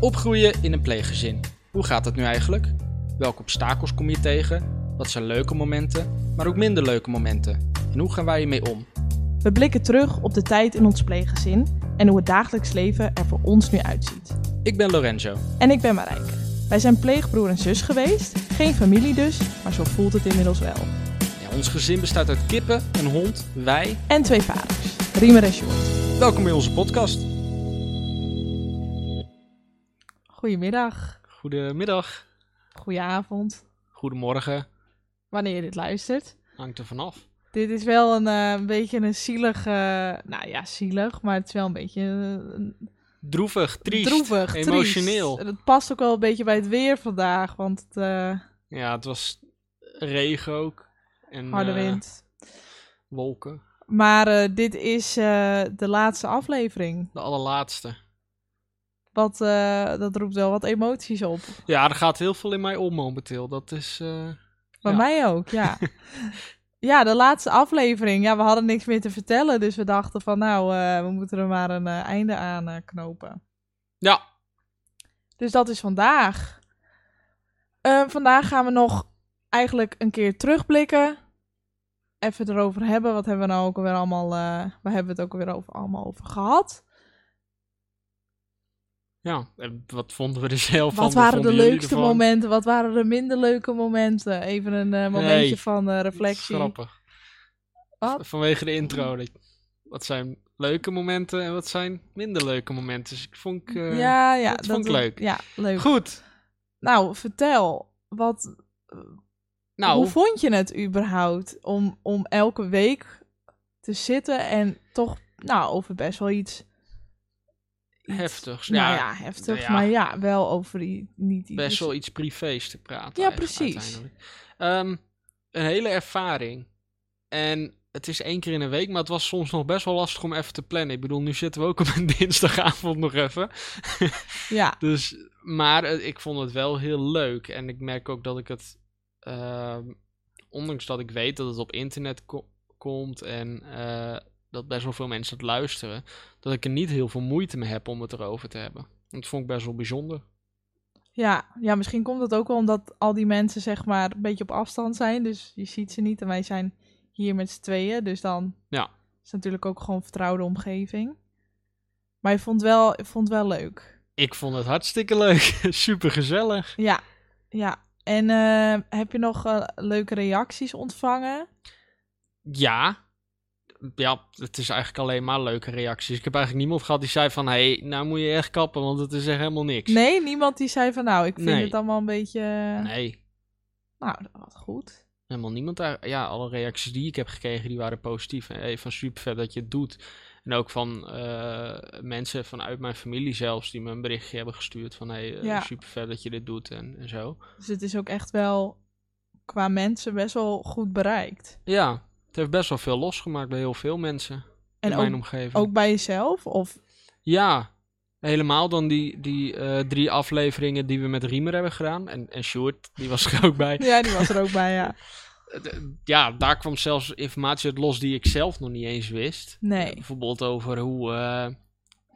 Opgroeien in een pleeggezin. Hoe gaat dat nu eigenlijk? Welke obstakels kom je tegen? Wat zijn leuke momenten, maar ook minder leuke momenten? En hoe gaan wij hiermee om? We blikken terug op de tijd in ons pleeggezin en hoe het dagelijks leven er voor ons nu uitziet. Ik ben Lorenzo. En ik ben Marijke. Wij zijn pleegbroer en zus geweest, geen familie dus, maar zo voelt het inmiddels wel. Ja, ons gezin bestaat uit kippen, een hond, wij. En twee vaders, Riemer en Sjoerd. Welkom bij onze podcast. Goedemiddag, Goedemiddag, goedenavond, goedemorgen. wanneer je dit luistert. Hangt er vanaf. Dit is wel een, eh, een beetje een zielig, eh, nou ja, zielig, maar het is wel een beetje eh, een Droevig, triest, droevig, triest. emotioneel. En Het past ook wel een beetje bij het weer vandaag, want het eh, Ja, het was regen ook. En, harde eh, wind. Wolken. Maar eh, dit is eh, de laatste aflevering. De allerlaatste. Wat, eh, dat roept wel wat emoties op. Ja, er gaat heel veel in mij om momenteel. Dat is. eh, Bij Ja. mij ook, ja. ja, de laatste aflevering. Ja, we hadden niks meer te vertellen. Dus we dachten van, nou, eh, we moeten er maar een eh, einde aan eh, knopen. Ja. Dus dat is vandaag. Eh, vandaag gaan we nog eigenlijk een keer terugblikken. Even erover hebben. Wat hebben we nou ook weer allemaal... eh waar hebben we het ook weer over, allemaal over gehad? Ja, en wat vonden we er zelf van? Wat waren de vonden jullie leukste ervan? momenten? Wat waren de minder leuke momenten? Even een eh, momentje Nee. van eh, reflectie. Grappig. Wat? Vanwege de intro. dat- Wat zijn leuke momenten en wat zijn minder leuke momenten? Dus ik vond. ik, eh, ja, ja. dat vond ik leuk. Ja, leuk. Goed. Nou, vertel. Wat, Nou, Hoe vond je het überhaupt om, om elke week te zitten en toch nou, over best wel iets... iets- heftigs. Nou ja, ja, heftig. ja. Maar ja, wel over i- niet iets... best wel iets privés te praten. Ja, eigenlijk, precies. uiteindelijk. Ehm, een hele ervaring. En het is één keer in een week, maar het was soms nog best wel lastig om even te plannen. Ik bedoel, nu zitten we ook op een dinsdagavond nog even. Ja, Dus, maar eh, ik vond het wel heel leuk. En ik merk ook dat ik het, ehm, ondanks dat ik weet dat het op internet ko- komt en eh, dat best wel veel mensen het luisteren, dat ik er niet heel veel moeite mee heb om het erover te hebben. Dat vond ik best wel bijzonder. ja, ja, misschien komt dat ook wel omdat al die mensen zeg maar een beetje op afstand zijn. Dus je ziet ze niet en wij zijn hier met z'n tweeën. Dus dan Ja. is het natuurlijk ook gewoon een vertrouwde omgeving. Maar je vond wel, je vond wel leuk. Ik vond het hartstikke leuk. Super gezellig. Ja, ja. En eh, heb je nog eh, leuke reacties ontvangen? Ja. Ja, het is eigenlijk alleen maar leuke reacties. Ik heb eigenlijk niemand gehad die zei van... hé, hey, nou moet je echt kappen, want het is echt helemaal niks. Nee, niemand die zei van nou, ik vind Nee. het allemaal een beetje... Nee, Nou, dat was goed. helemaal niemand daar. Ja, alle reacties die ik heb gekregen, die waren positief. Hey, van super vet dat je het doet. En ook van eh, mensen vanuit mijn familie zelfs... die me een berichtje hebben gestuurd van... hé, hey, Ja. super vet dat je dit doet en, en zo. Dus het is ook echt wel qua mensen best wel goed bereikt. Ja, het heeft best wel veel losgemaakt bij heel veel mensen En in mijn ook, omgeving. ook bij jezelf? Of Ja, helemaal dan die, die eh, drie afleveringen die we met Riemer hebben gedaan. En, en Sjoerd, die was er ook bij. ja, die was er ook bij, ja. D- Ja, daar kwam zelfs informatie uit los die ik zelf nog niet eens wist. Nee. Eh, bijvoorbeeld over hoe, eh,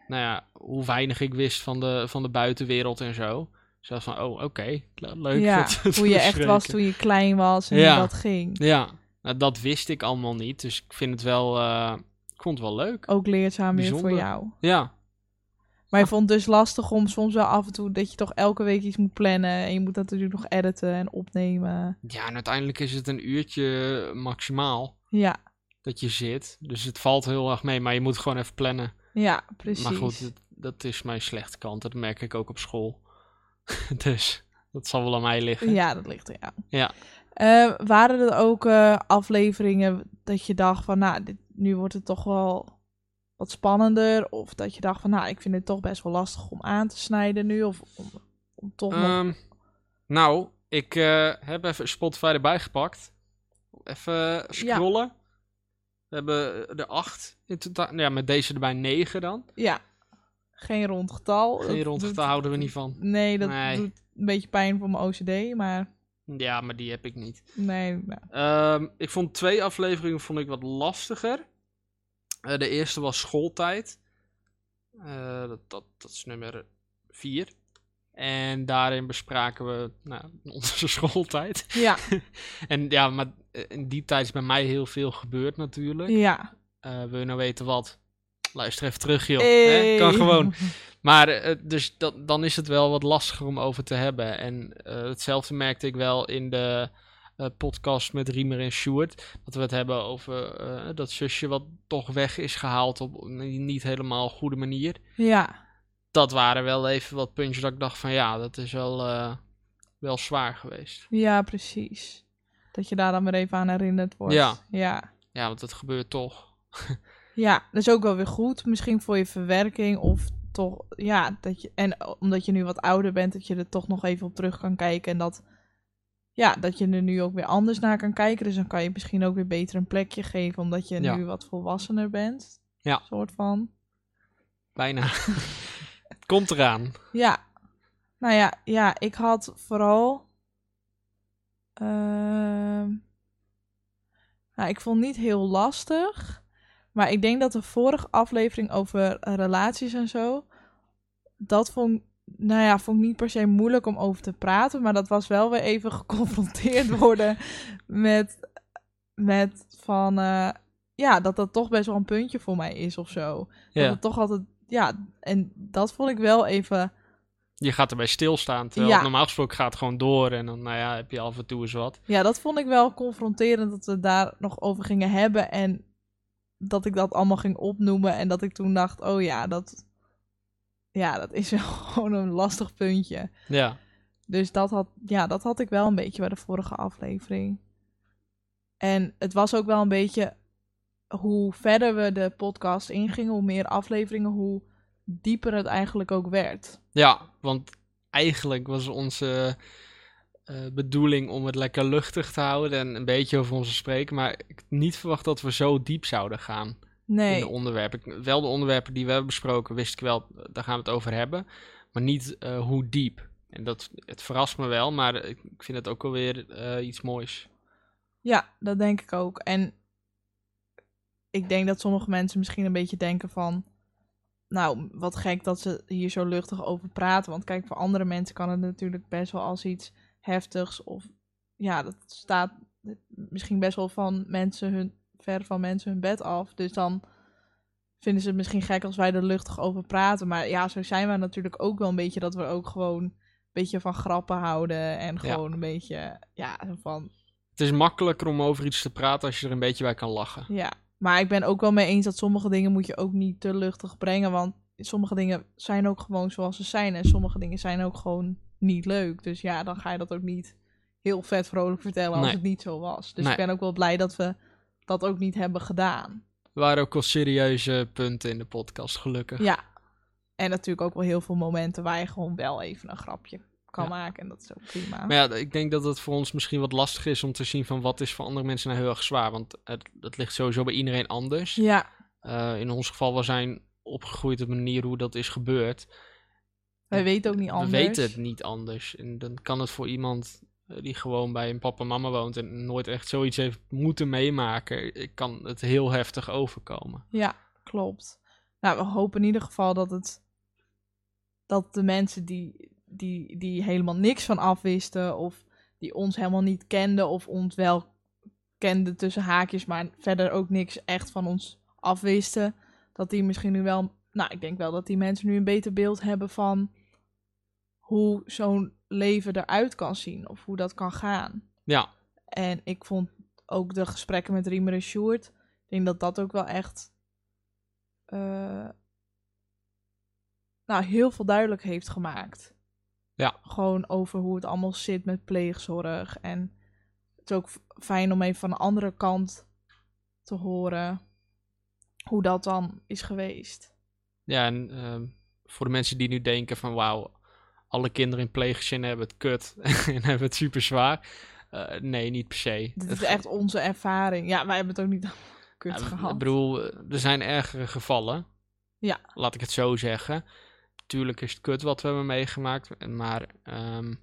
nou ja, hoe weinig ik wist van de, van de buitenwereld en zo. Zelfs van, oh, oké, le- leuk. ja, dat- dat hoe je we echt was spreken. toen je klein was en Ja. hoe dat ging. Ja, nou, dat wist ik allemaal niet. Dus ik vind het wel, eh, ik vond het wel leuk. Ook leerzaam weer voor Bijzonder. jou. Ja, Maar je vond het dus lastig om soms wel af en toe dat je toch elke week iets moet plannen. En je moet dat natuurlijk nog editen en opnemen. ja, en uiteindelijk is het een uurtje maximaal. Ja, dat je zit. Dus het valt heel erg mee, maar je moet gewoon even plannen. ja, precies. Maar goed, dat, dat is mijn slechte kant. Dat merk ik ook op school. dus dat zal wel aan mij liggen. Ja, dat ligt er aan. Ja. Eh, waren er ook eh, afleveringen dat je dacht van, nou, dit, nu wordt het toch wel wat spannender? Of dat je dacht van, nou, ik vind het toch best wel lastig om aan te snijden nu? Of om, om toch nog... Ehm, nou, ik eh, heb even Spotify erbij gepakt. Even eh, scrollen. We hebben er acht in totaal. Nou Ja, met deze erbij negen dan. Ja, geen rond getal. Geen Oh, Dat rondgetal doet- houden we niet van. Nee, dat Nee. doet een beetje pijn voor mijn OCD, maar Ja, maar die heb ik niet. nee. nou. Ehm, ik vond twee afleveringen vond ik wat lastiger. Eh, de eerste was schooltijd. Eh, dat, dat, dat is nummer vier. En daarin bespraken we nou, onze schooltijd. Ja, En ja, maar eh, in die tijd is bij mij heel veel gebeurd natuurlijk. ja. Eh, wil je nou weten wat? Luister even terug, joh. Hey. Hè? Kan gewoon. Maar eh, dus dat, dan is het wel wat lastiger om over te hebben. En eh, hetzelfde merkte ik wel in de eh, podcast met Riemer en Sjoerd. Dat we het hebben over eh, dat zusje wat toch weg is gehaald op een niet helemaal goede manier. Ja, Dat waren wel even wat puntjes dat ik dacht van ja, dat is wel, eh, wel zwaar geweest. ja, precies. Dat je daar dan weer even aan herinnerd wordt. Ja. Ja, Ja, want dat gebeurt toch. ja dat is ook wel weer goed. Misschien voor je verwerking of toch, ja, dat je, en omdat je nu wat ouder bent, dat je er toch nog even op terug kan kijken en dat, ja, dat je er nu ook weer anders naar kan kijken. Dus dan kan je misschien ook weer beter een plekje geven, omdat je Ja. nu wat volwassener bent. Ja. Soort van. Bijna. het komt eraan. Ja. Nou ja, ja ik had vooral. ehm, nou, ik vond het niet heel lastig. Maar ik denk dat de vorige aflevering over relaties en zo. Dat vond, nou ja, vond ik niet per se moeilijk om over te praten. Maar dat was wel weer even geconfronteerd worden met. Met van. eh, ja, dat dat toch best wel een puntje voor mij is of zo. Dat Ja. het toch altijd. Ja, en dat vond ik wel even. Je gaat erbij stilstaan. Terwijl Ja. het normaal gesproken gaat het gewoon door. En dan nou ja, heb je af en toe eens wat. Ja, dat vond ik wel confronterend dat we het daar nog over gingen hebben. En dat ik dat allemaal ging opnoemen. En dat ik toen dacht, oh ja, dat, ja, dat is wel gewoon een lastig puntje. Ja. Dus dat had, ja, dat had ik wel een beetje bij de vorige aflevering. En het was ook wel een beetje hoe verder we de podcast ingingen, hoe meer afleveringen, hoe dieper het eigenlijk ook werd. Ja, want eigenlijk was onze eh, bedoeling om het lekker luchtig te houden en een beetje over ons te spreken. Maar ik had niet verwacht dat we zo diep zouden gaan in de Nee, onderwerpen. Ik- Wel de onderwerpen die we hebben besproken, wist ik wel, daar gaan we het over hebben. Maar niet eh, hoe diep. En dat, het verrast me wel, maar ik ik vind het ook alweer eh iets moois. Ja, dat denk ik ook. En ik denk dat sommige mensen misschien een beetje denken van... Nou, wat gek dat ze hier zo luchtig over praten. Want kijk, voor andere mensen kan het natuurlijk best wel als iets heftigs. Of ja, dat staat misschien best wel van mensen hun, ver van mensen hun bed af. Dus dan vinden ze het misschien gek als wij er luchtig over praten. Maar ja, zo zijn we natuurlijk ook wel een beetje dat we ook gewoon een beetje van grappen houden. En gewoon een beetje, ja, zo van Het is makkelijker om over iets te praten als je er een beetje bij kan lachen. Ja, maar ik ben ook wel mee eens dat sommige dingen moet je ook niet te luchtig brengen. Want sommige dingen zijn ook gewoon zoals ze zijn. En sommige dingen zijn ook gewoon niet leuk. Dus ja, dan ga je dat ook niet heel vet vrolijk vertellen als Nee. het niet zo was. Dus Nee. ik ben ook wel blij dat we dat ook niet hebben gedaan. Er waren ook wel serieuze punten in de podcast, gelukkig. Ja. En natuurlijk ook wel heel veel momenten waar je gewoon wel even een grapje kan Ja. maken. En dat is ook prima. Maar ja, ik denk dat het voor ons misschien wat lastig is om te zien van wat is voor andere mensen nou heel erg zwaar. Want het, dat ligt sowieso bij iedereen anders. Ja, Eh, in ons geval, we zijn opgegroeid op een manier hoe dat is gebeurd. wij weten ook niet anders. We weten het niet anders. En dan kan het voor iemand eh, die gewoon bij een papa en mama woont en nooit echt zoiets heeft moeten meemaken, eh, kan het heel heftig overkomen. Ja, klopt. Nou, we hopen in ieder geval dat het. dat de mensen die, die, die helemaal niks van afwisten. of die ons helemaal niet kenden. of ons wel kenden tussen haakjes. maar verder ook niks echt van ons afwisten. dat die misschien nu wel. Nou, ik denk wel dat die mensen nu een beter beeld hebben van. hoe zo'n leven eruit kan zien. of hoe dat kan gaan. Ja, En ik vond ook de gesprekken met Riemer en Sjoerd. Ik denk dat dat ook wel echt. eh, nou, heel veel duidelijk heeft gemaakt. Ja. Gewoon over hoe het allemaal zit met pleegzorg. En het is ook f- fijn om even van de andere kant te horen. Hoe dat dan is geweest. ja en ehm, voor de mensen die nu denken van wauw, alle kinderen in pleeggezin hebben het kut en hebben het super zwaar. Eh, nee, niet per se. Dit Het is echt onze ervaring. Ja, wij hebben het ook niet kut Ja, gehad. Ik bedoel, er zijn ergere gevallen. Ja. Laat ik het zo zeggen. Tuurlijk is het kut wat we hebben meegemaakt, maar ehm,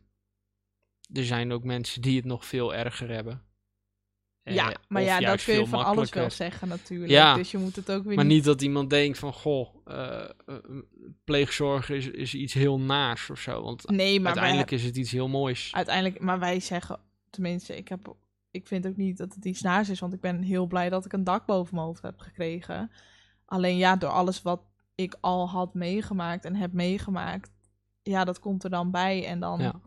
er zijn ook mensen die het nog veel erger hebben. Eh, ja, maar of ja, dat juist kun je veel van alles wel makkelijker. zeggen natuurlijk. Ja. Dus je moet het ook weer Maar niet dat iemand denkt van, goh, eh, eh, pleegzorg is, is iets heel naars of zo. Want Nee, maar wij, uiteindelijk is het iets heel moois. uiteindelijk, maar wij zeggen, tenminste, ik, heb, ik vind ook niet dat het iets naars is, want ik ben heel blij dat ik een dak boven mijn hoofd heb gekregen. Alleen ja, door alles wat ik al had meegemaakt en heb meegemaakt, ja, dat komt er dan bij. En dan Ja.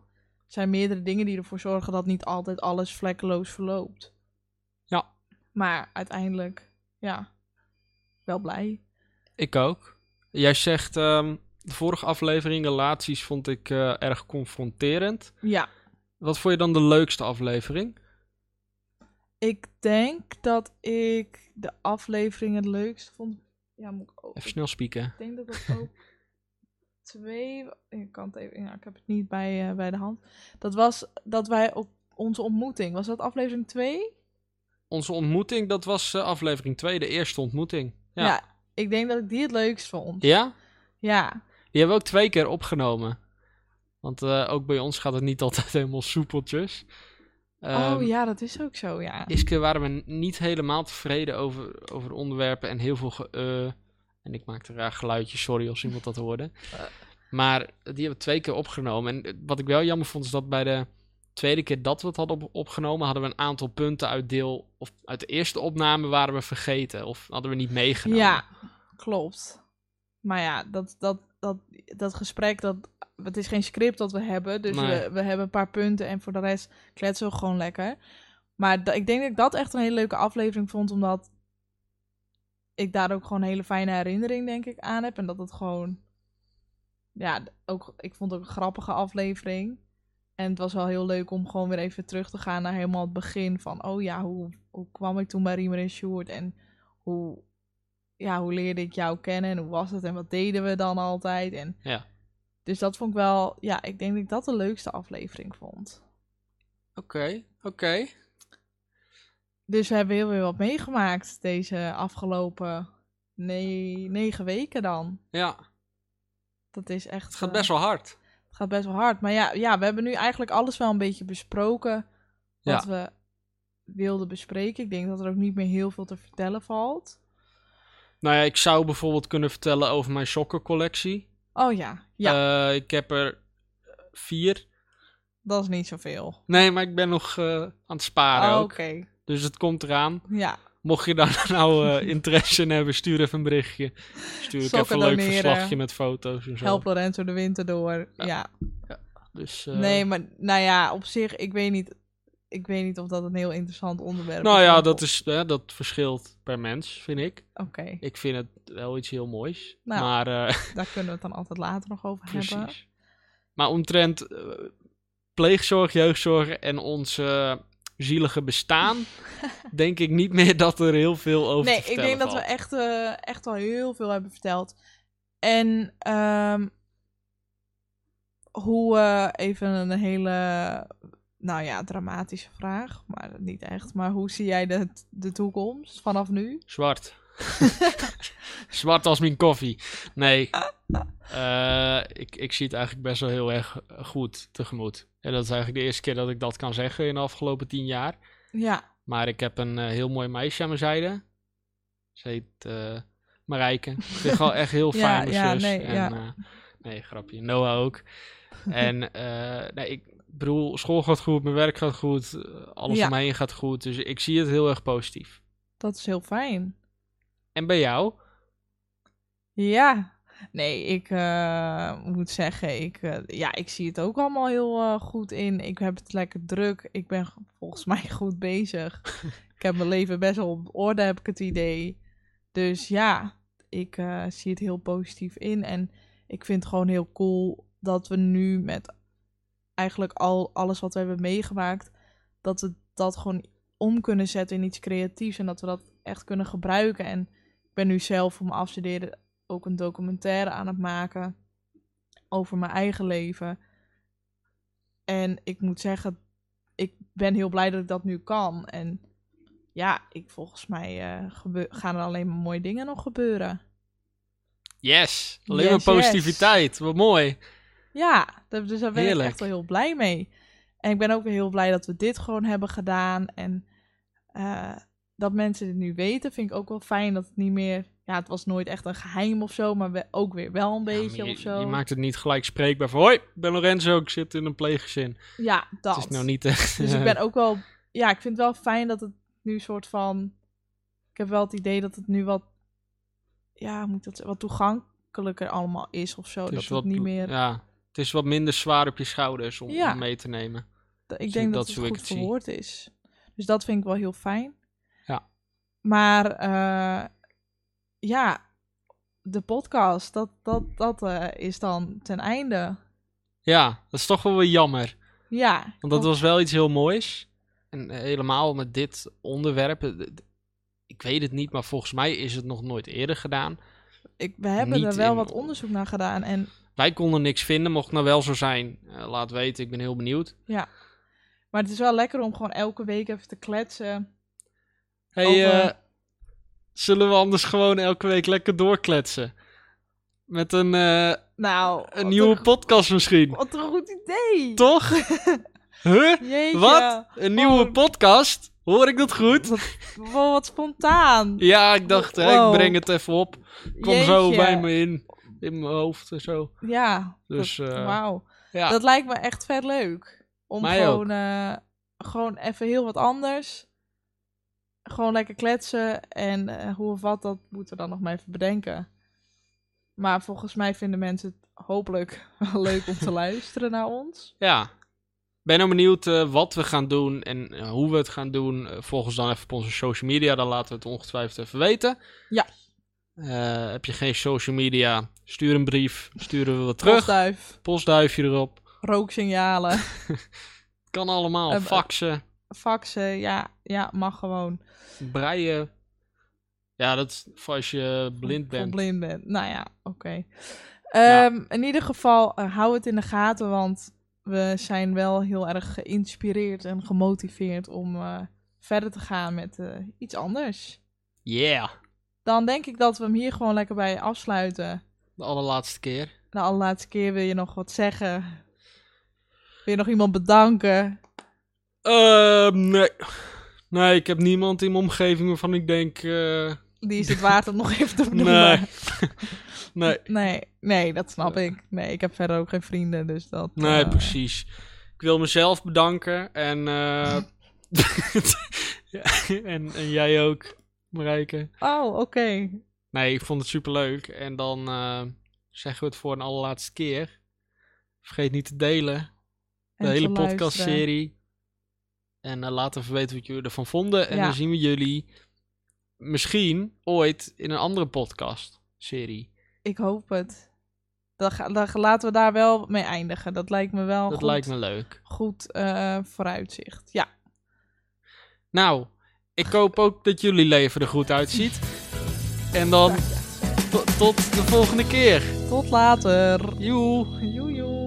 zijn meerdere dingen die ervoor zorgen dat niet altijd alles vlekkeloos verloopt. Ja. Maar uiteindelijk, ja, wel blij. Ik ook. Jij zegt, ehm, de vorige aflevering relaties vond ik eh, erg confronterend. Ja, Wat vond je dan de leukste aflevering? ik denk dat ik de aflevering het leukst vond. Ja, moet ik ook. Even snel spieken. Ik denk dat dat ook twee. Ik kan het even. Ja, ik heb het niet bij, eh, bij de hand. Dat was dat wij op onze ontmoeting. Was dat aflevering 2? Onze ontmoeting, dat was eh, aflevering 2, de eerste ontmoeting. Ja. Ik denk dat ik die het leukst vond. Ja? Ja. Die hebben we ook twee keer opgenomen. Want eh, ook bij ons gaat het niet altijd helemaal soepeltjes. Ehm, oh ja, dat is ook zo, ja. Eerste keer waren we niet helemaal tevreden over, over de onderwerpen en heel veel ge- eh, En ik maakte raar geluidjes, sorry als iemand dat hoorde. Maar die hebben we twee keer opgenomen. En eh, wat ik wel jammer vond is dat bij de tweede keer dat we het hadden op- opgenomen, hadden we een aantal punten uit deel. Of uit de eerste opname waren we vergeten. Of hadden we niet meegenomen. Ja, klopt. Maar ja, dat, dat, dat, dat gesprek, dat, het is geen script dat we hebben. Dus Nee. we, we hebben een paar punten en voor de rest kletsen we gewoon lekker. Maar da- ik denk dat ik dat echt een hele leuke aflevering vond, omdat ik daar ook gewoon een hele fijne herinnering, denk ik, aan heb. En dat het gewoon, ja, d- ook, ik vond het ook een grappige aflevering. En het was wel heel leuk om gewoon weer even terug te gaan naar helemaal het begin van, oh ja, hoe, hoe kwam ik toen bij Riemer en Sjoerd? En hoe, ja, hoe leerde ik jou kennen en hoe was het en wat deden we dan altijd? En Ja. Dus dat vond ik wel, ja, ik denk dat ik dat de leukste aflevering vond. Oké, oké. Dus we hebben heel weer wat meegemaakt deze afgelopen nee, negen weken dan. Ja, Dat is echt. het gaat eh, best wel hard. het gaat best wel hard. Maar ja, ja, we hebben nu eigenlijk alles wel een beetje besproken wat Ja. we wilden bespreken. Ik denk dat er ook niet meer heel veel te vertellen valt. Nou ja, ik zou bijvoorbeeld kunnen vertellen over mijn sokkencollectie. Oh ja, ja, Eh, ik heb er vier. dat is niet zoveel. Nee, maar ik ben nog eh, aan het sparen Oh, ook. Oké, Dus het komt eraan. ja. Mocht je daar nou eh, interesse in hebben, stuur even een berichtje. Stuur ik Sokken even een leuk doneren. verslagje met foto's en zo. Help Lorenzo de winter door. Ja. ja. Dus, eh, Nee, maar nou ja, op zich, ik weet niet, ik weet niet of dat een heel interessant onderwerp is. Nou ja, want- dat, is, hè, dat verschilt per mens, vind ik. Oké, Ik vind het wel iets heel moois. Nou. Maar eh, daar kunnen we het dan altijd later nog over hebben. precies. Maar omtrent eh, pleegzorg, jeugdzorg en ons eh, zielige bestaan... denk ik niet meer dat er heel veel over Nee, te ik denk dat we vertellen echt, eh, echt al heel veel hebben verteld. En ehm, hoe, eh, even een hele, nou ja, dramatische vraag, maar niet echt. Maar hoe zie jij de, de toekomst vanaf nu? valt. Zwart. Zwart als mijn koffie. Nee. Ah, Eh, ik, ik zie het eigenlijk best wel heel erg eh, goed tegemoet. En dat is eigenlijk de eerste keer dat ik dat kan zeggen in de afgelopen tien jaar. Ja, Maar ik heb een eh, heel mooi meisje aan mijn zijde. Ze heet eh, Marijke. Ik vind gewoon echt heel Ja, fijn, mijn ja, zus. nee, en, ja. eh, nee, grapje. Noah ook. En eh, nee, ik bedoel, school gaat goed, mijn werk gaat goed. eh, Alles Ja. om mij heen gaat goed. Dus ik zie het heel erg positief. dat is heel fijn. En bij jou? Ja. Nee, ik eh, moet zeggen, ik, eh, ja, ik zie het ook allemaal heel eh, goed in. Ik heb het lekker druk. Ik ben g- volgens mij goed bezig. ik heb mijn leven best wel op orde, heb ik het idee. Dus ja, ik eh, zie het heel positief in. En ik vind het gewoon heel cool dat we nu met eigenlijk al alles wat we hebben meegemaakt, dat we dat gewoon om kunnen zetten in iets creatiefs. En dat we dat echt kunnen gebruiken. En ik ben nu zelf voor mijn afstuderen ook een documentaire aan het maken over mijn eigen leven. En ik moet zeggen, ik ben heel blij dat ik dat nu kan. En ja, ik, volgens mij eh, gebe- gaan er alleen maar mooie dingen nog gebeuren. Yes! Alleen Yes, maar positiviteit. Wat mooi. Ja, da- dus daar ben Heerlijk. ik echt wel heel blij mee. En ik ben ook weer heel blij dat we dit gewoon hebben gedaan. En eh, dat mensen dit nu weten, vind ik ook wel fijn dat het niet meer... Ja, het was nooit echt een geheim of zo, maar we- ook weer wel een Ja, beetje maar je, of zo. je maakt het niet gelijk spreekbaar van... Hoi, ik ben Lorenzo, ik zit in een pleeggezin. Ja, dat. Het is nou niet echt... Dus ik ben ook wel... Ja, ik vind het wel fijn dat het nu soort van... Ik heb wel het idee dat het nu wat... Ja, hoe moet ik dat zeggen? Wat toegankelijker allemaal is of zo. het dat is het niet meer... Ja, het is wat minder zwaar op je schouders om, Ja. om mee te nemen. dus ik dat denk dat, zo ik het goed het zie. verwoord is. Dus dat vind ik wel heel fijn. Ja. Maar eh, ja, de podcast, dat, dat, dat eh, is dan ten einde. Ja, dat is toch wel weer jammer. Ja. Want dat was wel iets heel moois. En eh, helemaal met dit onderwerp. eh, d- d- Ik weet het niet, maar volgens mij is het nog nooit eerder gedaan. ik, we hebben niet er wel in- wat onderzoek naar gedaan. En Wij konden niks vinden. Mocht het nou wel zo zijn, eh, laat weten. Ik ben heel benieuwd. Maar het is wel lekker om gewoon elke week even te kletsen. Hey, Over- eh, zullen we anders gewoon elke week lekker doorkletsen? Met een, eh, Nou, wat een nieuwe go- podcast misschien. Wat een goed idee. Toch? huh? Jeetje. Wat? Een nieuwe Oh. podcast? Hoor ik dat goed? Wel wat spontaan. Ja, ik dacht, hè, Wow. ik breng het even op. Kom zo Jeetje. bij me in. In mijn hoofd en zo. Ja. Dus, dat- eh, Wauw. Ja, Dat lijkt me echt vet leuk. Om Mij gewoon, eh, gewoon even heel wat anders. Gewoon lekker kletsen. En eh, hoe of wat, dat moeten we dan nog maar even bedenken. Maar volgens mij vinden mensen het hopelijk wel leuk om te luisteren naar ons. ja. Ik ben nou benieuwd eh, wat we gaan doen en eh, hoe we het gaan doen. Eh, volg ons dan even op onze social media, dan laten we het ongetwijfeld even weten. Ja. Eh, heb je geen social media, stuur een brief, sturen we wat terug. Postduif, Postduifje erop. rooksignalen. Kan allemaal, Eh, faxen, faxen, ja, ja mag gewoon. breien. Ja, dat is voor als je blind Voor bent. blind bent. Nou ja, oké. Ja. Ehm, In ieder geval, eh, hou het in de gaten, want we zijn wel heel erg geïnspireerd en gemotiveerd om eh, verder te gaan met eh, iets anders. Yeah, Dan denk ik dat we hem hier gewoon lekker bij afsluiten. de allerlaatste keer. De allerlaatste keer wil je nog wat zeggen. Wil je nog iemand bedanken? Ehm, nee. Nee, ik heb niemand in mijn omgeving waarvan ik denk... eh, Die is het waard om nog even te benoemen. nee. nee. Nee, nee, dat snap ik. Nee, ik heb verder ook geen vrienden, dus dat... Nee, eh, precies. Ik wil mezelf bedanken en, eh, ja, en, en jij ook, Marijke. Oh, oké. Nee, ik vond het superleuk. En dan eh, zeggen we het voor een allerlaatste keer. Vergeet niet te delen, de En hele te luisteren. podcastserie. En eh, laat even weten wat jullie ervan vonden. En Ja. dan zien we jullie misschien ooit in een andere podcastserie. Ik hoop het. Dan, ga- dan laten we daar wel mee eindigen. Dat lijkt me wel Dat goed, lijkt me leuk. goed eh, vooruitzicht. Ja, Nou, ik hoop ook dat jullie leven er goed uitziet. En dan... nou ja. Tot- tot de volgende keer. tot later. Joe. Joejoe.